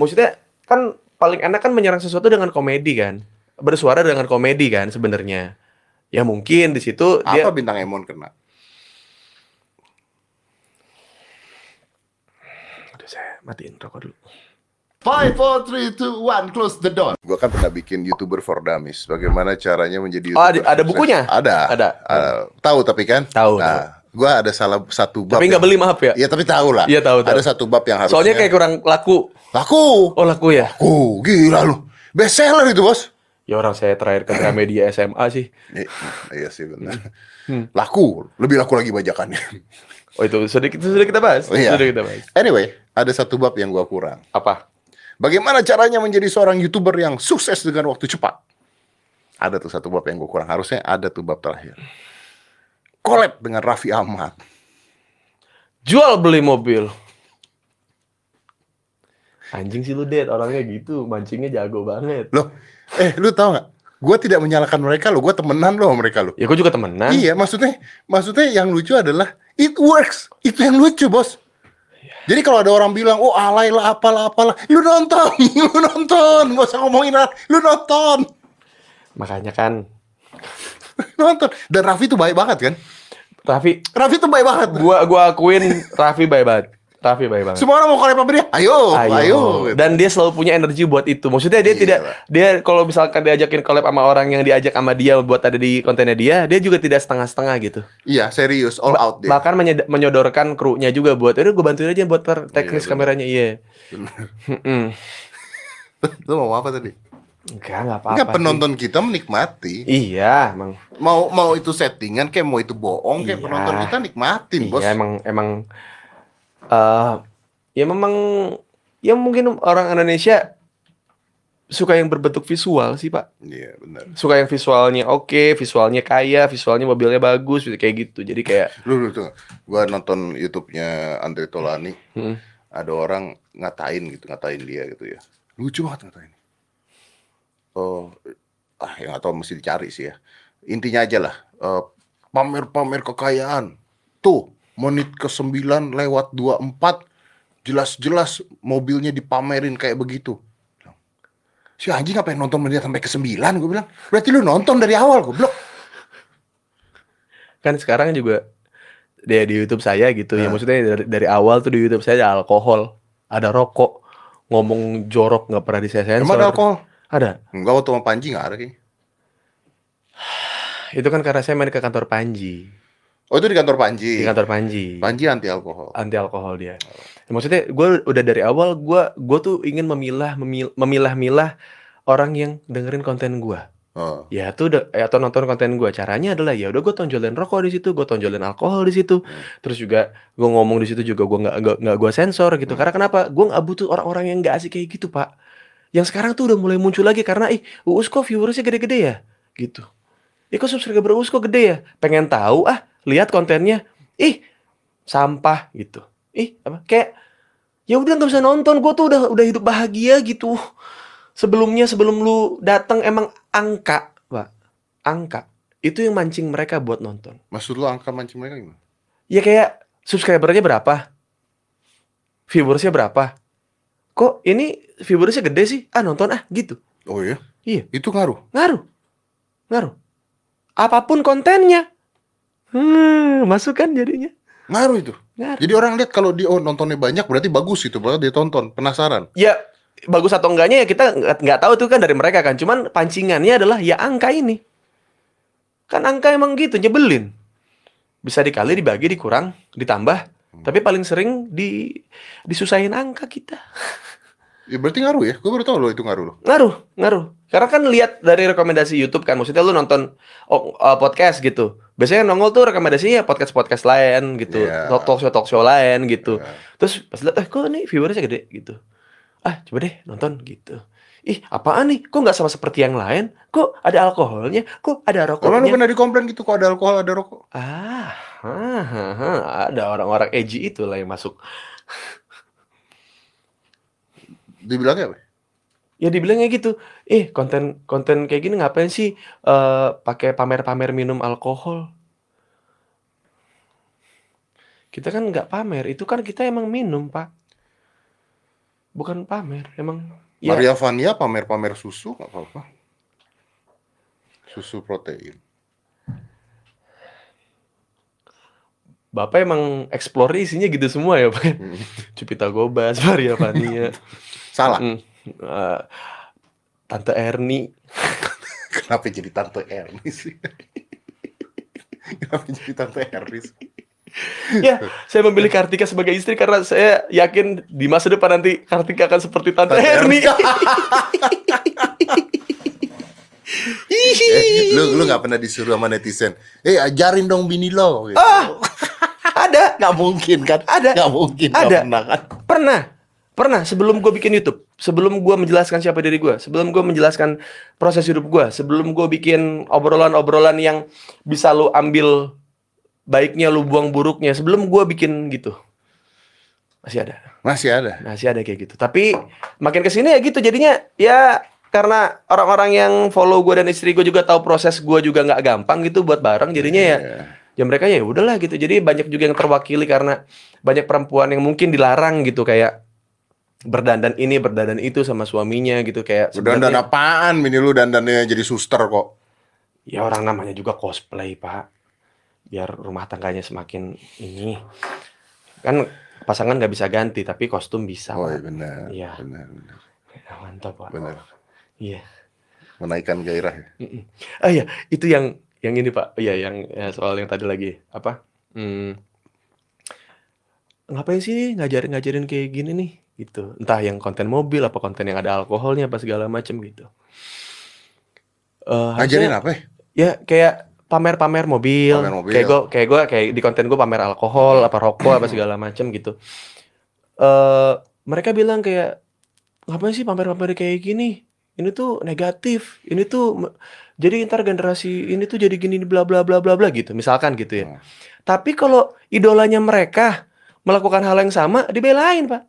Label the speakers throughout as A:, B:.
A: Maksudnya kan paling enak kan menyerang sesuatu dengan komedi kan. Bersuara dengan komedi kan sebenarnya. Ya mungkin di situ dia
B: Apa bintang Emon kena?
A: Aduh, saya matiin rokok dulu.
B: Five, four, three, two, one, close the door. Gue kan pernah bikin youtuber for dummies. Bagaimana caranya menjadi
A: Oh,
B: YouTuber
A: ada- ada
B: sukses.
A: bukunya?
B: Ada.
A: Ada.
B: Ah, tahu tapi kan?
A: Tahu,
B: Nah, gue ada salah satu bab.
A: Tapi nggak beli maaf ya.
B: Iya tapi tahu lah.
A: Iya, tahu, tahu.
B: Ada satu bab yang harus.
A: Soalnya kayak kurang laku.
B: laku.
A: Oh laku ya.
B: Oh gila lu. Best seller itu bos.
A: Ya orang saya terakhir ke media SMA sih.
B: I- iya sih benar. Hmm. Laku, lebih laku lagi bajakannya.
A: Oh itu sudah kita sudah kita bahas.
B: Oh, iya.
A: Sudah kita bahas.
B: Anyway, ada satu bab yang gua kurang.
A: Apa?
B: Bagaimana caranya menjadi seorang youtuber yang sukses dengan waktu cepat? Ada tuh satu bab yang gue kurang. Harusnya ada tuh bab terakhir. Collab dengan Raffi Ahmad.
A: Jual beli mobil. Anjing sih lu det orangnya gitu mancingnya jago banget.
B: Loh, eh lu tau gak? Gue tidak menyalahkan mereka loh. Gue temenan loh sama mereka loh.
A: Ya gue juga temenan.
B: Iya, maksudnya maksudnya yang lucu adalah it works. Itu yang lucu, Bos. Jadi kalau ada orang bilang, "Oh, alay lah, apalah, apalah." Lu nonton, lu nonton. Gak usah ngomongin lah. Lu nonton.
A: Makanya kan.
B: Nonton. Dan Raffi tuh baik banget kan?
A: Raffi,
B: Raffi tuh baik banget.
A: gua gua akuin Raffi baik banget. Raffi baik banget.
B: Semua orang mau collab sama dia. Ayo, ayo. gitu.
A: Dan dia selalu punya energi buat itu. Maksudnya dia
B: Iya,
A: tidak
B: Pak.
A: dia kalau misalkan diajakin collab sama orang yang diajak sama dia buat ada di kontennya dia, dia juga tidak setengah-setengah gitu.
B: Iya, serius all out dia.
A: Bahkan menyed- menyodorkan krunya juga buat, "Udah gue bantuin aja buat ter- teknis
B: bener.
A: kameranya." Iya. Mm-mm.
B: Lu mau apa tadi?
A: Enggak, enggak apa-apa.
B: Enggak
A: sih.
B: penonton kita menikmati.
A: Iya, emang.
B: Mau mau itu settingan kayak mau itu bohong kayak
A: Iya.
B: penonton kita nikmatin, Bos.
A: Iya, emang emang eh ya memang ya mungkin orang Indonesia suka yang berbentuk visual sih, Pak.
B: Iya, benar.
A: suka yang visualnya oke, visualnya kaya, visualnya mobilnya bagus, gitu, kayak gitu. Jadi kayak
B: Lu lu tuh. Gua nonton YouTube-nya Andre Tolani.
A: hmm,
B: Ada orang ngatain gitu, ngatain dia gitu ya. Lucu banget ngatain. Oh, ah yang atau mesti dicari sih ya. Intinya aja lah, eh, pamer-pamer kekayaan. Tuh, menit ke-9 lewat 24 jelas-jelas mobilnya dipamerin kayak begitu. Si anjing ngapain nonton menit sampai ke-9 gue bilang. Berarti lu nonton dari awal goblok.
A: kan sekarang juga dia di YouTube saya gitu ya
B: Ah.
A: maksudnya dari, dari awal tuh di YouTube saya ada alkohol, ada rokok, ngomong jorok nggak pernah disensor.
B: Emang ada alkohol?
A: Ada.
B: Enggak waktu sama Panji enggak ada kayaknya.
A: Itu kan karena saya main ke kantor Panji,
B: Oh itu di kantor
A: di
B: Panji.
A: kantor Ah. Panji.
B: Panji anti alkohol.
A: anti alkohol dia. Ya, Maksudnya gue udah dari awal gue gue tuh ingin memilah memil- memilah-milah orang yang dengerin konten gue.
B: Oh.
A: ya tuh udah- eh, atau nonton konten gue caranya adalah ya udah gue tonjolin rokok di situ gue tonjolin alkohol di situ terus juga gue ngomong di situ juga gue nggak nggak- nggak gue sensor gitu karena kenapa gue nggak butuh orang-orang yang nggak asik kayak gitu pak yang sekarang tuh udah mulai muncul lagi karena ih uus kok viewersnya gede-gede ya gitu ih kok subscriber uus kok gede ya pengen tahu ah lihat kontennya ih sampah gitu ih apa kayak ya udah nggak bisa nonton gue tuh udah udah hidup bahagia gitu sebelumnya sebelum lu datang emang angka pak angka itu yang mancing mereka buat nonton
B: Maksud lu angka mancing mereka gimana?
A: ya kayak subscribernya berapa viewersnya berapa kok ini viewersnya gede sih ah nonton ah gitu
B: Oh iya?
A: Iya.
B: Itu ngaruh.
A: ngaruh ngaruh apapun kontennya hmm masukan jadinya
B: Ngaruh itu.
A: ngaruh
B: Jadi orang lihat kalau dia oh, nontonnya banyak berarti bagus itu, berarti dia tonton, penasaran.
A: ya bagus atau enggaknya ya kita nggak nggak tahu itu kan dari mereka kan cuman pancingannya adalah ya angka ini kan angka emang gitu nyebelin bisa dikali dibagi dikurang ditambah tapi paling sering di disusahin angka kita
B: Ya berarti ngaruh ya. Gue baru tahu loh itu ngaruh loh.
A: ngaruh ngaruh karena kan lihat dari rekomendasi YouTube kan maksudnya lu nonton oh, eh, podcast gitu biasanya nongol tuh rekomendasinya podcast podcast lain gitu
B: Iya.
A: talk talk show talk show lain gitu
B: Iya.
A: terus pas lihat eh kok nih viewersnya gede gitu ah coba deh nonton gitu ih apaan nih kok nggak sama seperti yang lain kok ada alkoholnya kok ada
B: Kalau lu
A: rokoknya
B: pernah dikomplain gitu kok ada alkohol, ada rokok.
A: ah ah, ah, ah. ada orang-orang edgy itulah yang masuk
B: Dibilangnya apa?
A: ya dibilangnya gitu eh konten konten kayak gini ngapain sih eh pakai pamer-pamer minum alkohol kita kan nggak pamer itu kan kita emang minum pak bukan pamer emang ya
B: Maria Vania pamer-pamer susu nggak apa-apa. Susu protein.
A: bapak emang explore isinya gitu semua ya pak
B: Hmm.
A: Cupita Gobas Maria Vania
B: Salah.
A: Hmm, eh, Tante Erni
B: Kenapa jadi Tante Erni sih? Kenapa jadi Tante Erni sih?
A: ya saya memilih Kartika sebagai istri karena saya yakin di masa depan nanti Kartika akan seperti Tante,
B: Tante
A: Erni
B: Eh, lu lu nggak pernah disuruh sama netizen. Eh ajarin dong bini lo. Gitu.
A: ah ada
B: Nggak mungkin kan?
A: Ada.
B: Nggak mungkin. nggak
A: Ada.
B: pernah kan?
A: Pernah, pernah sebelum gue bikin YouTube, sebelum gue menjelaskan siapa diri gue, sebelum gue menjelaskan proses hidup gue, sebelum gue bikin obrolan-obrolan yang bisa lu ambil baiknya, lu buang buruknya, sebelum gue bikin gitu, masih ada,
B: Masih ada.
A: masih ada kayak gitu. Tapi makin kesini ya gitu, jadinya ya karena orang-orang yang follow gue dan istri gue juga tahu proses gue juga nggak gampang gitu buat bareng, jadinya ya
B: Iya.
A: ya mereka ya udahlah gitu jadi banyak juga yang terwakili karena banyak perempuan yang mungkin dilarang gitu kayak berdandan ini berdandan itu sama suaminya gitu kayak
B: Lu dandan
A: sebenarnya-
B: apaan? Bini lu dandannya jadi suster kok.
A: ya orang namanya juga cosplay pak biar rumah tangganya semakin ini kan pasangan nggak bisa ganti tapi kostum bisa
B: Oh iya
A: Pak.
B: benar.
A: Iya.
B: Benar, benar.
A: Ya, mantap pak
B: benar.
A: iya
B: Menaikkan gairah ya.
A: Mm-mm. ah ya itu yang yang ini pak iya yang ya, soal yang tadi lagi apa Hmm. ngapain sih ngajarin ngajarin kayak gini nih gitu entah yang konten mobil apa konten yang ada alkoholnya apa segala macem gitu Eh,
B: Ngajarin
A: harusnya-
B: apa ya?
A: ya kayak pamer-pamer mobil,
B: Pamer mobil.
A: kayak gue kayak gua kayak di konten gue pamer alkohol apa rokok apa segala macem gitu eh mereka bilang kayak ngapain sih pamer-pamer kayak gini ini tuh negatif ini tuh me- jadi ntar generasi ini tuh jadi gini bla bla bla bla bla gitu misalkan gitu ya
B: Hmm.
A: tapi kalau idolanya mereka melakukan hal yang sama dibelain pak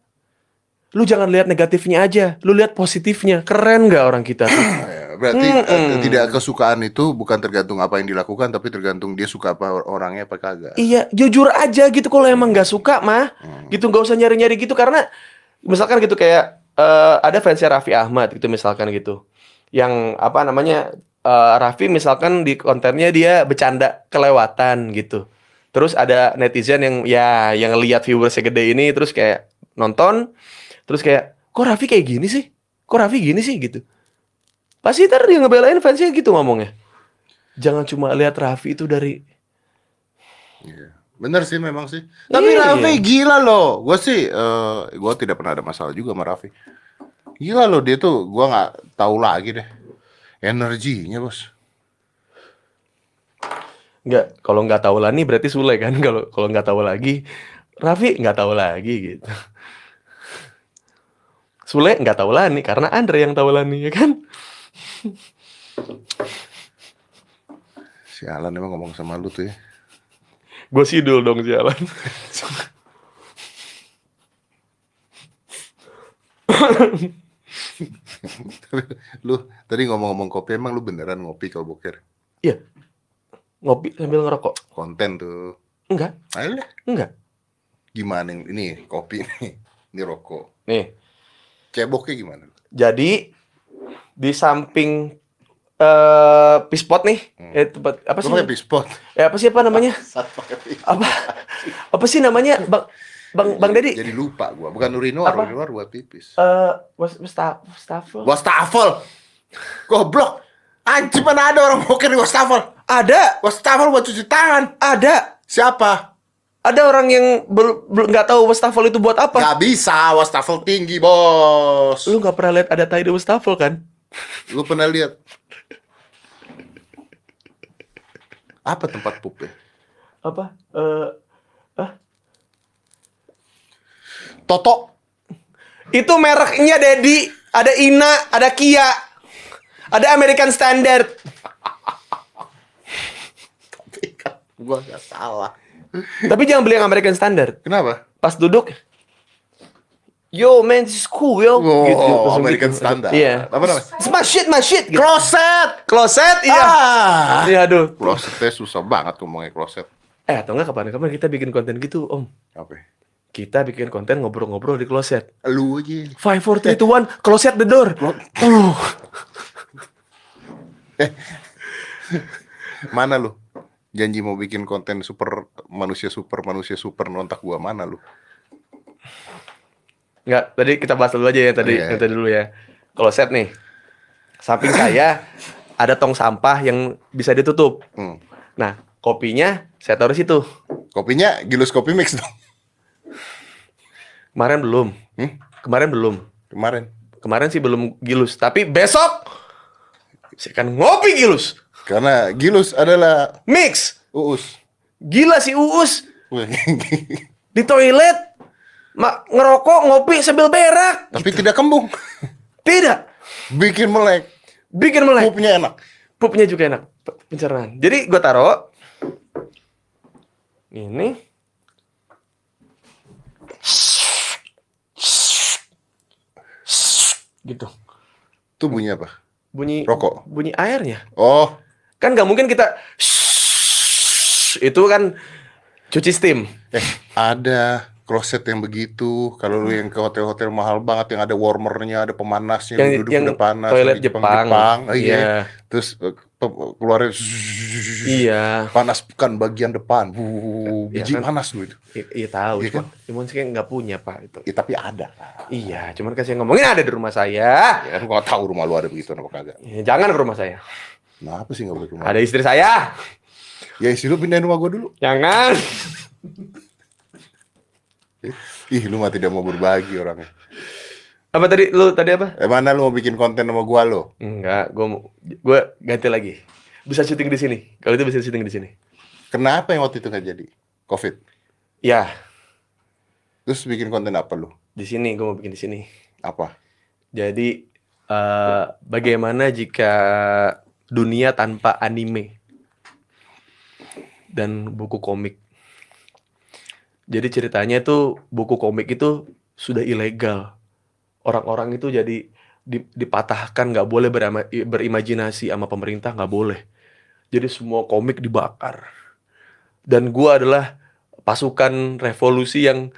A: lu jangan lihat negatifnya aja lu lihat positifnya keren nggak orang kita tuh?
B: Ya, Berarti
A: Mm-mm.
B: eh, tidak kesukaan itu bukan tergantung apa yang dilakukan, tapi tergantung dia suka apa or- orangnya apa kagak.
A: iya jujur aja gitu kalau emang nggak suka mah
B: Hmm.
A: gitu nggak usah nyari-nyari gitu karena misalkan gitu kayak eh, ada fansnya Raffi Ahmad gitu misalkan gitu yang apa namanya eh, Raffi misalkan di kontennya dia bercanda kelewatan gitu terus ada netizen yang ya yang lihat viewersnya gede ini terus kayak nonton terus kayak kok Raffi kayak gini sih kok Raffi gini sih gitu pasti ntar dia ngebelain fansnya gitu ngomongnya jangan cuma lihat Raffi itu dari
B: Iya. Bener sih memang sih. Tapi
A: Iya.
B: Raffi gila loh. Gue sih, eh gue tidak pernah ada masalah juga sama Raffi. Gila loh dia tuh, gue nggak tahu lagi deh. Energinya bos.
A: Nggak, kalau nggak tahu lagi berarti Sule kan. Kalau kalau nggak tahu lagi, Raffi nggak tahu lagi gitu. Sule nggak tahu lani karena Andre yang tahu lani ya kan.
B: Sialan emang ngomong sama lu tuh ya.
A: Gue sidul dong jalan.
B: lu tadi ngomong-ngomong kopi, emang lu beneran ngopi kalau boker?
A: Iya. Ngopi sambil ngerokok.
B: Konten tuh.
A: Enggak,
B: Ayolah,
A: enggak.
B: gimana yang- ini kopi nih, ini rokok.
A: Nih,
B: Ceboknya gimana?
A: jadi di samping eh pispot nih,
B: Hmm.
A: eh tempat apa
B: Lu
A: sih?
B: pakai pispot.
A: Eh apa sih apa namanya?
B: Saat pakai pispot.
A: Apa apa sih namanya? Bang Bang Bang Dedi.
B: Jadi lupa gua, bukan urinoir,
A: Apa?
B: urinoir buat pipis.
A: Eh was wastaf- wastafel.
B: Wastafel. Goblok. Anjir mana ada orang boker di wastafel?
A: Ada,
B: Wastafel buat cuci tangan.
A: ada.
B: Siapa?
A: ada orang yang bel- bel- nggak tahu wastafel itu buat apa.
B: Gak bisa, wastafel tinggi, bos.
A: Lu nggak pernah lihat ada tai di wastafel kan?
B: Lu pernah lihat? Apa tempat pup ya?
A: Apa? Eh,
B: Toto.
A: itu mereknya Dedi. Ada Ina, ada Kia, ada American Standard.
B: Gua gak salah.
A: Tapi jangan beli yang American Standard.
B: Kenapa?
A: Pas duduk, yo man, this is cool yo. Gitu,
B: Wow,
A: langsung
B: Oh, American Standard.
A: Iya.
B: Apa namanya?
A: It's my shit, my shit. Gitu.
B: Kloset.
A: Closet, iya.
B: Ah.
A: Iya, aduh.
B: Klosetnya susah banget ngomongnya kloset.
A: Eh, atau nggak kapan-kapan kita bikin konten gitu, Om.
B: Apa? ya?
A: Kita bikin konten ngobrol-ngobrol di kloset.
B: Lu aja.
A: Five, four, three, two, one, close the door.
B: Lo-
A: Aduh.
B: Mana lu? Janji mau bikin konten super manusia super manusia super nontak gua mana lu?
A: Nggak, tadi kita bahas dulu aja ya tadi,
B: Iya.
A: yang tadi dulu ya. Kloset nih. Samping saya ada tong sampah yang bisa ditutup.
B: Hmm.
A: Nah, kopinya saya taruh situ.
B: Kopinya gilus kopi mix dong.
A: Kemarin belum.
B: Hmm?
A: Kemarin belum.
B: Kemarin.
A: Kemarin sih belum gilus, tapi besok saya akan ngopi gilus.
B: Karena gilus adalah
A: Mix.
B: uus.
A: Gila si Uus
B: Tapi
A: di toilet ma- ngerokok, ngopi sambil berak.
B: tidak kembung.
A: Tidak.
B: Bikin melek.
A: Bikin melek.
B: Pupnya enak.
A: Pupnya juga enak. P- Pencernaan. Jadi gue taruh ini gitu
B: Itu bunyinya apa?
A: bunyi
B: Rokok.
A: bunyi airnya
B: Oh,
A: kan nggak mungkin kita itu kan cuci steam
B: eh ada kloset yang begitu. Kalau lu yang ke hotel-hotel mahal banget yang ada warmernya, ada pemanasnya,
A: yang
B: lu duduk
A: yang
B: udah panas.
A: toilet
B: di
A: Jepang,
B: Jepang. Oh, iya.
A: iya
B: Terus eh, pe- keluarnya
A: iya
B: panaskan bagian depan. Iya Wuh,
A: Ya
B: biji
A: kan?
B: panas lu itu.
A: I- iya tahu
B: Iya
A: cuman cuman sih kayak nggak punya pak itu
B: Ya, tapi ada.
A: iya cuman kan saya ngomongin ada di rumah saya
B: Ya kan gua nggak tahu rumah lu ada begitu apa kagak.
A: Ya, jangan ke rumah saya
B: Nah, apa sih nggak boleh ke rumah?
A: ada istri saya
B: Ya isi lu pindahin rumah gua dulu.
A: jangan
B: Eh. Ih, lu mah tidak mau berbagi orangnya.
A: apa tadi lu tadi apa
B: Eh mana lu mau bikin konten sama gua lo?
A: enggak gue gue ganti lagi bisa syuting di sini kalau itu bisa syuting di sini
B: Kenapa yang waktu itu nggak jadi? Covid.
A: ya
B: Terus bikin konten apa lu?
A: di sini gue mau bikin di sini
B: Apa?
A: Jadi eh, bagaimana jika dunia tanpa anime dan buku komik? Jadi ceritanya itu buku komik itu sudah ilegal. Orang-orang itu jadi di- dipatahkan nggak boleh berama- i- berimajinasi sama pemerintah nggak boleh. Jadi semua komik dibakar. Dan gua adalah pasukan revolusi yang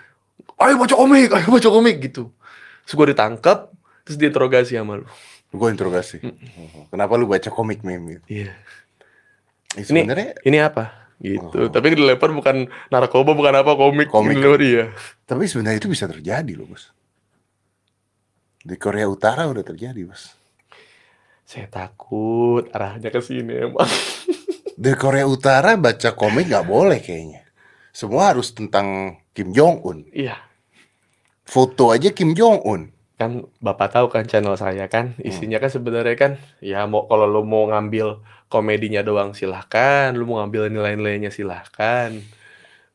A: ayo baca komik, ayo baca komik gitu. Terus gue ditangkap, terus diinterogasi sama lu.
B: Gue interogasi. Kenapa lu baca komik meme? gitu?
A: Iya. Ini-
B: Eh, sebenarnya
A: Ini apa? Gitu.
B: Oh.
A: Tapi yang dilempar bukan narkoba, bukan apa komik.
B: Komik.
A: Gitu, iya.
B: tapi sebenarnya itu bisa terjadi loh, Bos. Di Korea Utara udah terjadi, Bos.
A: Saya takut arahnya ke sini emang.
B: Di Korea Utara baca komik nggak boleh kayaknya. Semua harus tentang Kim Jong Un.
A: iya.
B: Foto aja Kim Jong Un.
A: Kan Bapak tahu kan channel saya kan,
B: Hmm.
A: isinya kan sebenarnya kan ya mau kalau lu mau ngambil komedinya doang silahkan, lu mau ngambil nilai-nilainya silahkan.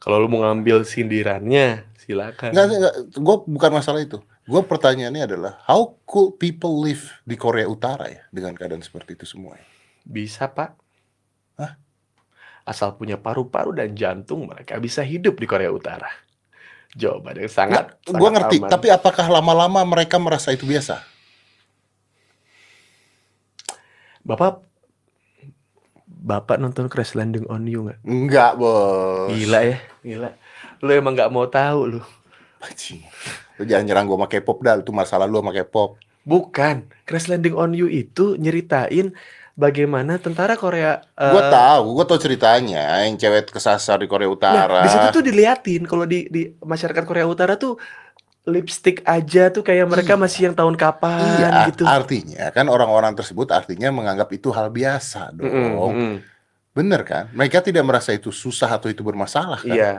A: Kalau lu mau ngambil sindirannya silahkan.
B: Nggak, nggak, gue bukan masalah itu. Gue pertanyaannya adalah, how could people live di Korea Utara ya dengan keadaan seperti itu semua? ya?
A: Bisa, Pak.
B: Hah?
A: Asal punya paru-paru dan jantung, mereka bisa hidup di Korea Utara. Jawaban yang sangat, sangat
B: Gue ngerti,
A: aman.
B: tapi apakah lama-lama mereka merasa itu biasa?
A: Bapak Bapak nonton Crash Landing on You nggak?
B: Enggak, bos.
A: Gila ya, gila. Lu emang nggak mau tahu lu.
B: Anjing. Lu jangan nyerang gue sama K-pop dah, itu masalah lu sama K-pop.
A: Bukan, Crash Landing on You itu nyeritain bagaimana tentara Korea eh,
B: Gue tahu, gue tau ceritanya yang cewek kesasar di Korea Utara.
A: Nah, di situ tuh diliatin kalau di di masyarakat Korea Utara tuh lipstick aja tuh kayak mereka
B: Iya.
A: masih yang tahun kapan
B: Iya,
A: gitu.
B: artinya kan orang-orang tersebut artinya menganggap itu hal biasa dong.
A: Mm-mm, mm-mm.
B: Bener kan? Mereka tidak merasa itu susah atau itu bermasalah kan?
A: Iya.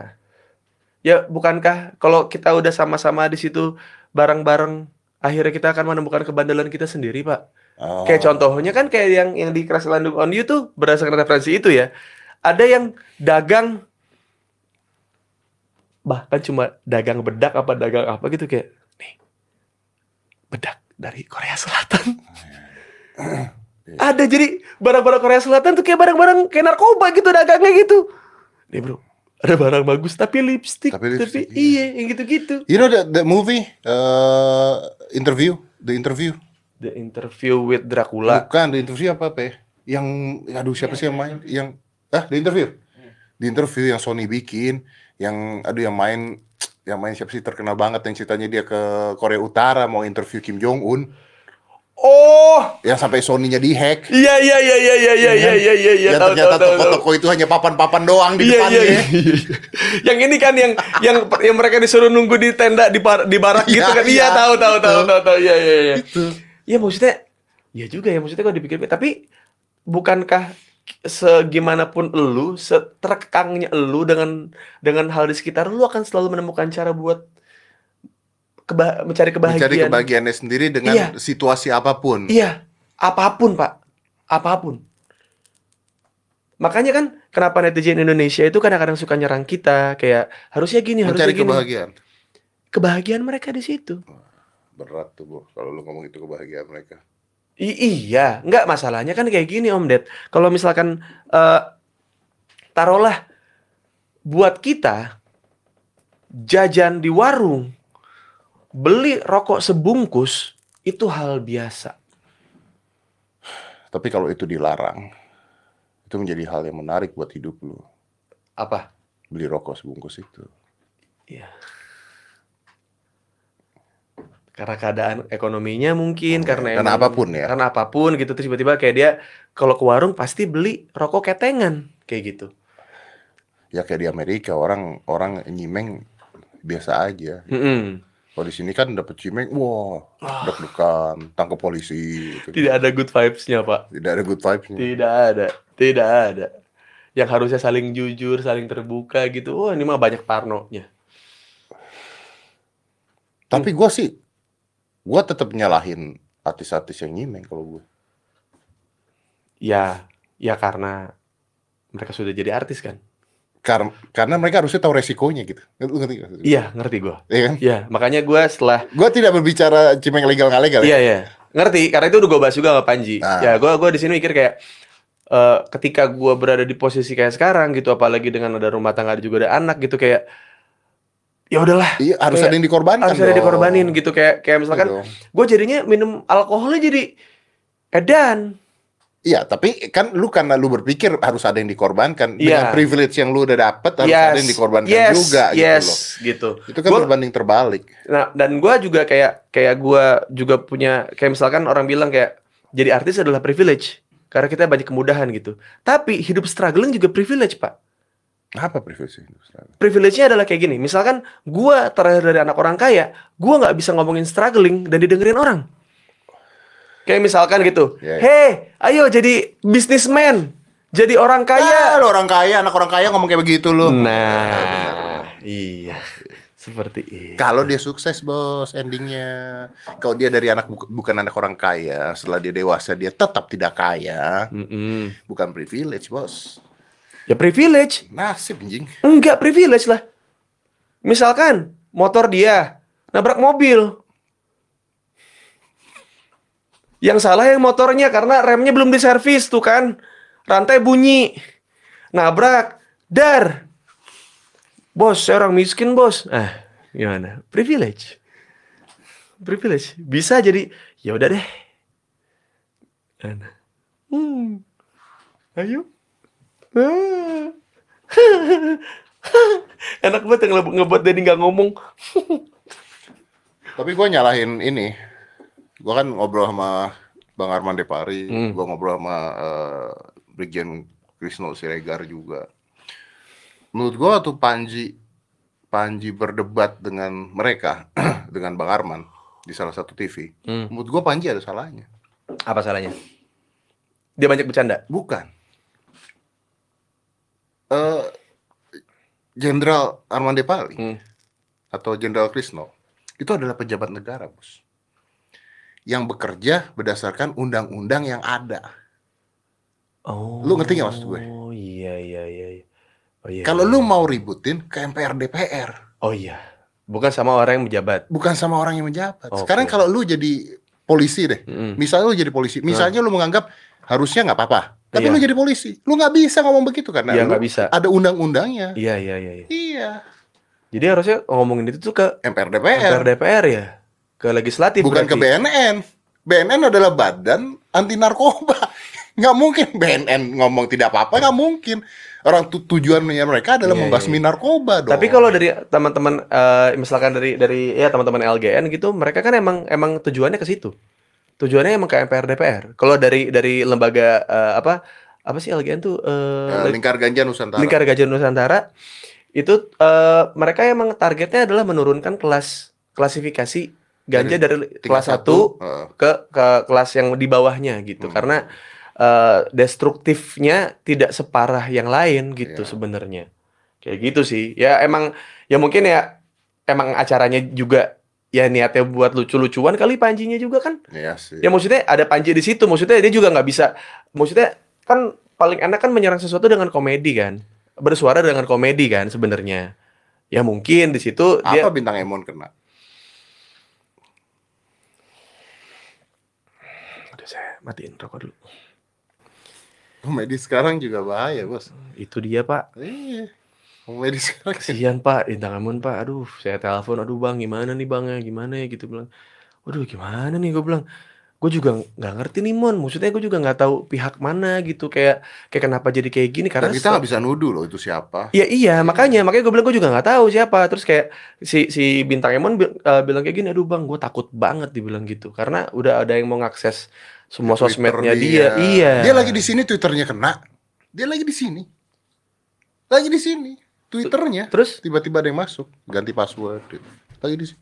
A: Ya, bukankah kalau kita udah sama-sama di situ bareng-bareng akhirnya kita akan menemukan kebandelan kita sendiri, Pak.
B: Oh.
A: Kayak contohnya kan kayak yang yang di Crash Landing on You tuh berdasarkan referensi itu ya. Ada yang dagang bahkan cuma dagang bedak apa dagang apa gitu kayak nih bedak dari Korea Selatan. Ada jadi barang-barang Korea Selatan tuh kayak barang-barang kayak narkoba gitu dagangnya gitu. Nih bro, ada barang bagus tapi lipstick,
B: Tapi
A: tapi,
B: lipstick,
A: iya. yang gitu-gitu.
B: You know the, the movie uh, interview, the interview.
A: The interview with Dracula.
B: Bukan the interview apa apa ya? Yang aduh siapa sih yang main? Yang ah the interview. The interview yang Sony bikin, yang aduh yang main yang main siapa sih terkenal banget yang ceritanya dia ke Korea Utara mau interview Kim Jong Un
A: Oh,
B: yang sampai Sony-nya dihack
A: iya iya iya iya iya iya iya iya iya iya.
B: yang
A: tahu,
B: Ya, ternyata
A: tahu, tahu, tahu.
B: toko-toko itu hanya papan-papan doang di
A: Iya
B: depannya
A: iya. iya. yang ini kan yang yang yang mereka disuruh nunggu di tenda di bar, di barak gitu
B: Iya,
A: kan.
B: iya.
A: Iya, tahu tahu tahu
B: Betul.
A: tahu tahu. Iya iya iya.
B: Gitu.
A: Iya maksudnya Iya juga ya maksudnya kalau dipikir tapi bukankah segimanapun elu seterkangnya elu dengan dengan hal di sekitar lu akan selalu menemukan cara buat keba- mencari kebahagiaan.
B: mencari kebahagiaannya sendiri dengan
A: Iya.
B: situasi apapun
A: Iya, apapun Pak, apapun. Makanya kan kenapa netizen Indonesia itu kadang-kadang suka nyerang kita kayak harusnya gini, harusnya
B: mencari
A: gini.
B: kebahagiaan
A: Kebahagiaan mereka di situ.
B: berat tuh bu kalau lu ngomong itu kebahagiaan mereka
A: I- iya, nggak masalahnya kan kayak gini Om Ded. Kalau misalkan eh, taruhlah buat kita jajan di warung, beli rokok sebungkus itu hal biasa.
B: tapi kalau itu dilarang itu menjadi hal yang menarik buat hidup lu
A: Apa?
B: beli rokok sebungkus itu
A: Karena keadaan ekonominya mungkin, karena
B: karena
A: emang-
B: apapun ya
A: karena apapun gitu terus tiba-tiba kayak dia kalau ke warung pasti beli rokok ketengan kayak gitu
B: ya kayak di Amerika orang orang nyimeng biasa aja
A: Mm-mm.
B: kalau di sini kan dapet cimeng wah
A: Ah, Iya.
B: deg-degan tangkap polisi gitu.
A: tidak ada good vibes-nya pak
B: Tidak ada good vibes nya
A: tidak ada tidak ada yang harusnya saling jujur saling terbuka gitu wah ini mah banyak parnonya
B: tapi gua sih gua tetap nyalahin artis-artis yang nyimeng kalau gue
A: ya ya karena mereka sudah jadi artis kan
B: karena karena mereka harusnya tahu resikonya gitu lu ngerti gak?
A: iya ngerti gua
B: Iya kan
A: iya makanya gua setelah
B: gue tidak berbicara cimeng legal nggak legal
A: iya
B: ya
A: iya ngerti karena itu udah gue bahas juga sama Panji
B: Ah.
A: ya gua gua di sini mikir kayak eh, ketika gua berada di posisi kayak sekarang gitu apalagi dengan ada rumah tangga juga ada anak gitu kayak ya udahlah
B: iya harus
A: Kayak-
B: ada yang dikorbankan
A: harus ada
B: dong.
A: dikorbanin gitu kayak kayak
B: Iya
A: misalkan
B: dong.
A: gue jadinya minum alkoholnya jadi edan
B: Iya, tapi kan lu karena lu berpikir harus ada yang dikorbankan
A: Iya.
B: dengan privilege yang lu udah dapet harus ada yang dikorbankan
A: yes,
B: juga gitu
A: yes,
B: loh.
A: gitu
B: Itu kan
A: Gua-
B: berbanding terbalik.
A: nah dan gue juga kayak kayak gue juga punya kayak misalkan orang bilang kayak jadi artis adalah privilege karena kita banyak kemudahan gitu tapi hidup struggling juga privilege pak
B: Apa privilege itu?
A: privilege-nya adalah kayak gini. Misalkan gua terakhir dari anak orang kaya, gua nggak bisa ngomongin struggling dan didengerin orang. Kayak misalkan gitu.
B: Iya, iya.
A: Hei, ayo jadi businessman. Jadi orang kaya.
B: Ah, lu orang kaya, anak orang kaya ngomong kayak begitu
A: Ah.
B: lu.
A: Nah, iya. Seperti itu.
B: Kalau dia sukses bos, endingnya. Kalau dia dari anak bu- bukan anak orang kaya, setelah dia dewasa dia tetap tidak kaya,
A: Mm-mm.
B: bukan privilege bos.
A: Ya privilege.
B: Nasib anjing.
A: Enggak privilege lah. Misalkan motor dia nabrak mobil. Yang salah yang motornya karena remnya belum diservis tuh kan. Rantai bunyi. Nabrak. Dar. Bos, saya orang miskin, Bos. Ah, gimana? Privilege. Privilege. Bisa jadi ya udah deh. Nah. Hmm. Ayo. Ah. Enak banget yang nge- ngebuat Denny nggak ngomong.
B: Tapi gua nyalahin ini. Gua kan ngobrol sama Bang Arman Depari,
A: Hmm.
B: gua ngobrol sama eh, Brigjen Krisno Siregar juga. Menurut gua tuh Panji Panji berdebat dengan mereka, dengan Bang Arman di salah satu TV. Menurut gua Panji ada salahnya.
A: Apa salahnya? Dia banyak bercanda.
B: Bukan. Eh, Jenderal Arman Depari
A: Hmm.
B: atau Jenderal Krisno itu adalah pejabat negara, bos. Yang bekerja berdasarkan undang-undang yang ada.
A: Oh.
B: Lu ngerti nggak maksud gue?
A: Oh iya iya iya. iya. Oh, iya
B: Kalau
A: iya.
B: lu mau ributin ke MPR DPR,
A: Oh iya. Bukan sama orang yang menjabat.
B: bukan sama orang yang menjabat.
A: Oke. Hmm.
B: Sekarang kalau lu jadi polisi deh,
A: Mm-mm.
B: misalnya lu jadi polisi, misalnya lu menganggap harusnya nggak apa-apa, tapi
A: Iya.
B: lu jadi polisi, lu nggak bisa ngomong begitu karena
A: Iya
B: lu
A: nggak bisa.
B: ada undang-undangnya.
A: Iya iya iya. iya.
B: Iya,
A: Jadi harusnya ngomongin itu tuh ke
B: MPR
A: DPR, DPR ya, ke legislatif
B: bukan ke
A: berarti.
B: BNN. BNN adalah badan anti narkoba. nggak mungkin BNN ngomong tidak apa-apa nggak mungkin orang tu tujuannya mereka adalah
A: Iya,
B: membasmi narkoba dong
A: Tapi kalau dari teman-teman eh, misalkan dari dari ya teman-teman LGN gitu, mereka kan emang emang tujuannya ke situ. Tujuannya emang ke MPR DPR. Kalau dari dari lembaga eh, apa apa sih LGN tuh
B: Eh,
A: eh,
B: lingkar ganja Nusantara
A: Lingkar Gajah Nusantara itu eh, mereka emang targetnya adalah menurunkan kelas klasifikasi ganja dari,
B: Tingkat
A: kelas 1
B: eh,
A: ke ke kelas yang di bawahnya gitu.
B: Hmm.
A: Karena eh, destruktifnya tidak separah yang lain gitu
B: Iya.
A: sebenarnya. Kayak gitu sih. Ya emang ya mungkin ya emang acaranya juga ya niatnya buat lucu-lucuan kali panjinya juga kan
B: iya sih
A: Ya maksudnya ada Panji di situ, maksudnya dia juga nggak bisa. Maksudnya kan paling enak kan menyerang sesuatu dengan komedi kan, bersuara dengan komedi kan sebenarnya. Ya mungkin di situ dia
B: apa bintang Emon kena
A: Aduh, saya matiin rokok dulu.
B: komedi sekarang juga bahaya bos
A: Itu dia Pak.
B: iya komedi sekarang
A: Kasihan Pak, Bintang Emon Pak. Aduh, saya telepon, aduh Bang, gimana nih Bang ya, gimana ya gitu bilang. Waduh, gimana nih gue bilang. Gue juga nggak ngerti nih Mon, maksudnya gue juga nggak tahu pihak mana gitu kayak kayak kenapa jadi kayak gini
B: Dan
A: karena
B: Ya, kita nggak bisa nuduh loh itu siapa
A: Ya iya, makanya makanya gue bilang gue juga nggak tahu siapa. Terus kayak si si bintang Emon bi- eh, bilang kayak gini, aduh bang, gue takut banget dibilang gitu karena udah ada yang mau ngakses semua
B: Twitter
A: sosmednya dia. Iya.
B: Dia lagi di sini twitternya kena. Dia lagi di sini. Lagi di sini. Twitternya
A: Terus
B: tiba-tiba ada yang masuk, ganti password. gitu. Lagi di sini.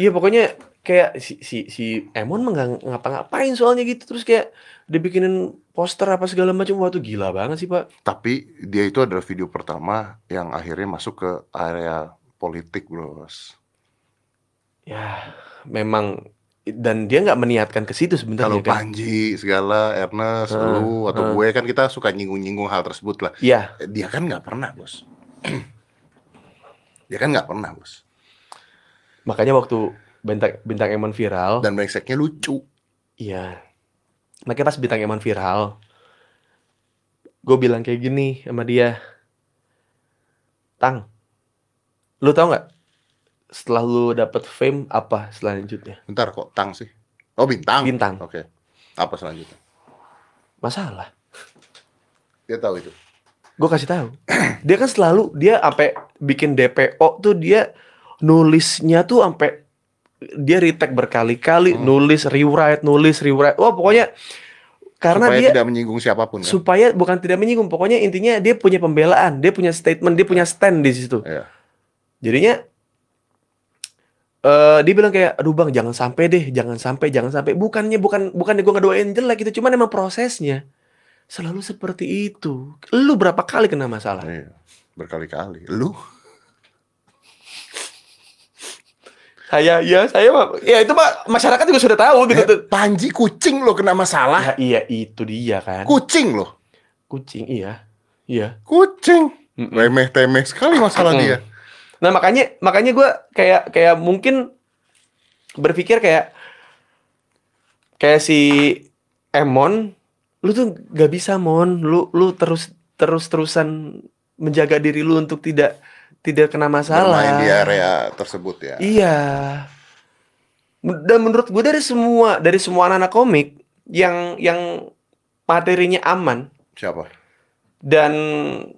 A: iya pokoknya kayak si si si Emon mah nggak ngapa-ngapain soalnya gitu. Terus kayak dibikinin poster apa segala macam. Wah tuh gila banget sih pak.
B: Tapi dia itu adalah video pertama yang akhirnya masuk ke area politik, Bros.
A: Ya memang dan dia nggak meniatkan ke situ
B: Kalau
A: sebenarnya kan.
B: Panji segala Ernest,
A: Ah,
B: lu atau
A: ah.
B: gue kan kita suka nyinggung-nyinggung hal tersebut lah.
A: Iya.
B: Eh, Dia kan nggak pernah, Bos. dia kan nggak pernah, Bos.
A: Makanya waktu bintang bintang Emon viral.
B: Dan brengseknya lucu.
A: Iya. Makanya pas bintang Emon viral, gue bilang kayak gini sama dia, Tang, lu tau nggak? Setelah lu dapet fame apa selanjutnya?
B: Bentar kok tang sih. Oh, bintang.
A: Bintang.
B: Oke. Apa selanjutnya?
A: Masalah.
B: Dia tahu itu.
A: Gue kasih tahu. Dia kan selalu dia sampai bikin DPO tuh dia nulisnya tuh sampai dia retake berkali-kali,
B: Hmm.
A: nulis rewrite, nulis rewrite. Wah pokoknya karena
B: supaya
A: dia
B: tidak menyinggung siapapun kan?
A: supaya bukan tidak menyinggung pokoknya intinya dia punya pembelaan dia punya statement dia punya stand di situ
B: Iya.
A: jadinya eh dia bilang kayak aduh bang jangan sampai deh jangan sampai jangan sampai bukannya bukan bukan gue ngedoain jelek itu cuman emang prosesnya selalu seperti itu lu berapa kali kena masalah
B: Iya. berkali-kali lu
A: saya ya saya mah- ya itu mah masyarakat juga sudah tahu gitu tuh
B: Eh, Panji kucing lo kena masalah
A: Nah, iya itu dia kan
B: kucing lo
A: kucing iya iya
B: kucing
A: Mm-mm.
B: remeh temeh sekali masalah
A: Mm-mm.
B: dia
A: Nah makanya makanya gue kayak kayak mungkin berpikir kayak kayak si Emon, lu tuh gak bisa mon, lu lu terus terus terusan menjaga diri lu untuk tidak tidak kena masalah.
B: bermain di area tersebut ya
A: Iya. Dan menurut gue dari semua dari semua anak-anak komik yang yang materinya aman
B: siapa
A: dan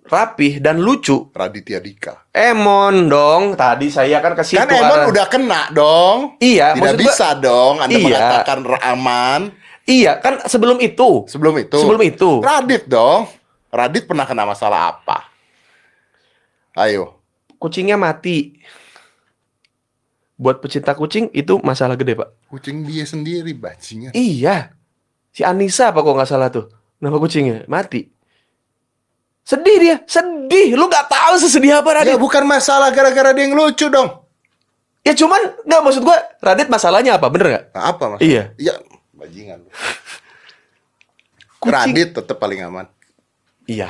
A: rapih dan lucu,
B: Raditya Dika
A: Emon dong. Tadi saya kan ke situ.
B: kan Emon
A: arah-
B: udah kena dong
A: Iya,
B: tidak
A: maksud gua-
B: bisa dong anda
A: Iya.
B: mengatakan aman
A: iya, kan sebelum itu.
B: sebelum itu
A: Sebelum itu.
B: Radit dong Radit pernah kena masalah apa ayo
A: Kucingnya mati. Buat pecinta kucing itu masalah gede, Pak.
B: kucing dia sendiri bajingan
A: Iya. Si Anissa apa kok nggak salah tuh? Nama kucingnya mati. Sedih dia, sedih. Lu nggak tahu sesedih apa
B: ya
A: Radit.
B: bukan masalah gara-gara dia yang lucu dong
A: Ya, cuman nggak maksud gua Radit masalahnya apa? Bener nggak?
B: Nah, apa mas?
A: Iya.
B: Iya, bajingan.
A: Kucing.
B: Radit tetap paling aman.
A: Iya.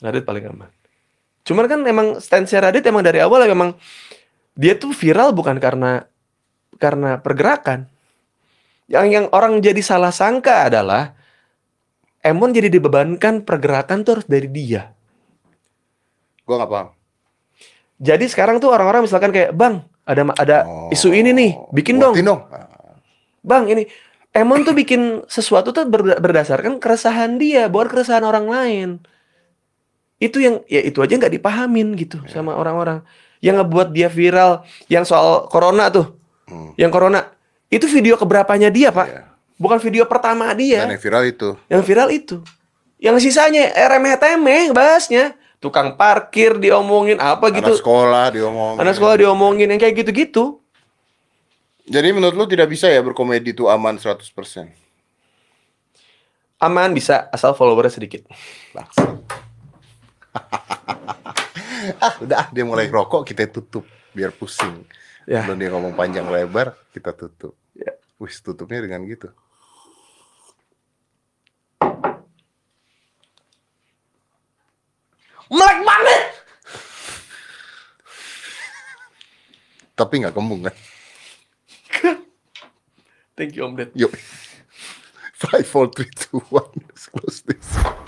A: Radit paling aman. Cuman kan emang stance Radit emang dari awal emang dia tuh viral bukan karena karena pergerakan. Yang yang orang jadi salah sangka adalah Emon jadi dibebankan pergerakan tuh harus dari dia.
B: Gua nggak paham.
A: Jadi sekarang tuh orang-orang Oh.
B: Oh, Ah,
A: misalkan kayak, "Bang, ada ma- ada isu ini nih, bikin dong."
B: Buatin dong.
A: Bang, ini Emon tuh bikin sesuatu tuh berda- berdasarkan keresahan dia, bukan keresahan orang lain. Itu yang ya itu aja nggak dipahamin gitu
B: Ya.
A: sama orang-orang. Yang ngebuat dia viral, yang soal corona tuh,
B: Hmm,
A: yang corona itu video keberapanya dia pak,
B: iya.
A: bukan video pertama dia.
B: Dan yang viral itu.
A: Yang viral itu. Yang sisanya eh, remeh-temeh bahasnya. Tukang parkir diomongin apa gitu.
B: Anak sekolah diomong.
A: Anak sekolah diomongin yang kayak gitu-gitu.
B: Jadi menurut lu tidak bisa ya berkomedi itu aman 100%?
A: Aman bisa asal followernya sedikit.
B: Bangsat. ah, udah ah, dia mulai rokok kita tutup biar pusing.
A: Ya.
B: Belum dia ngomong panjang lebar, kita tutup.
A: Ya.
B: Wis tutupnya dengan gitu.
A: Melek banget.
B: Tapi nggak kembung kan?
A: Thank you Om Ded.
B: Yuk. 5 4 3 2 1 Let's close this.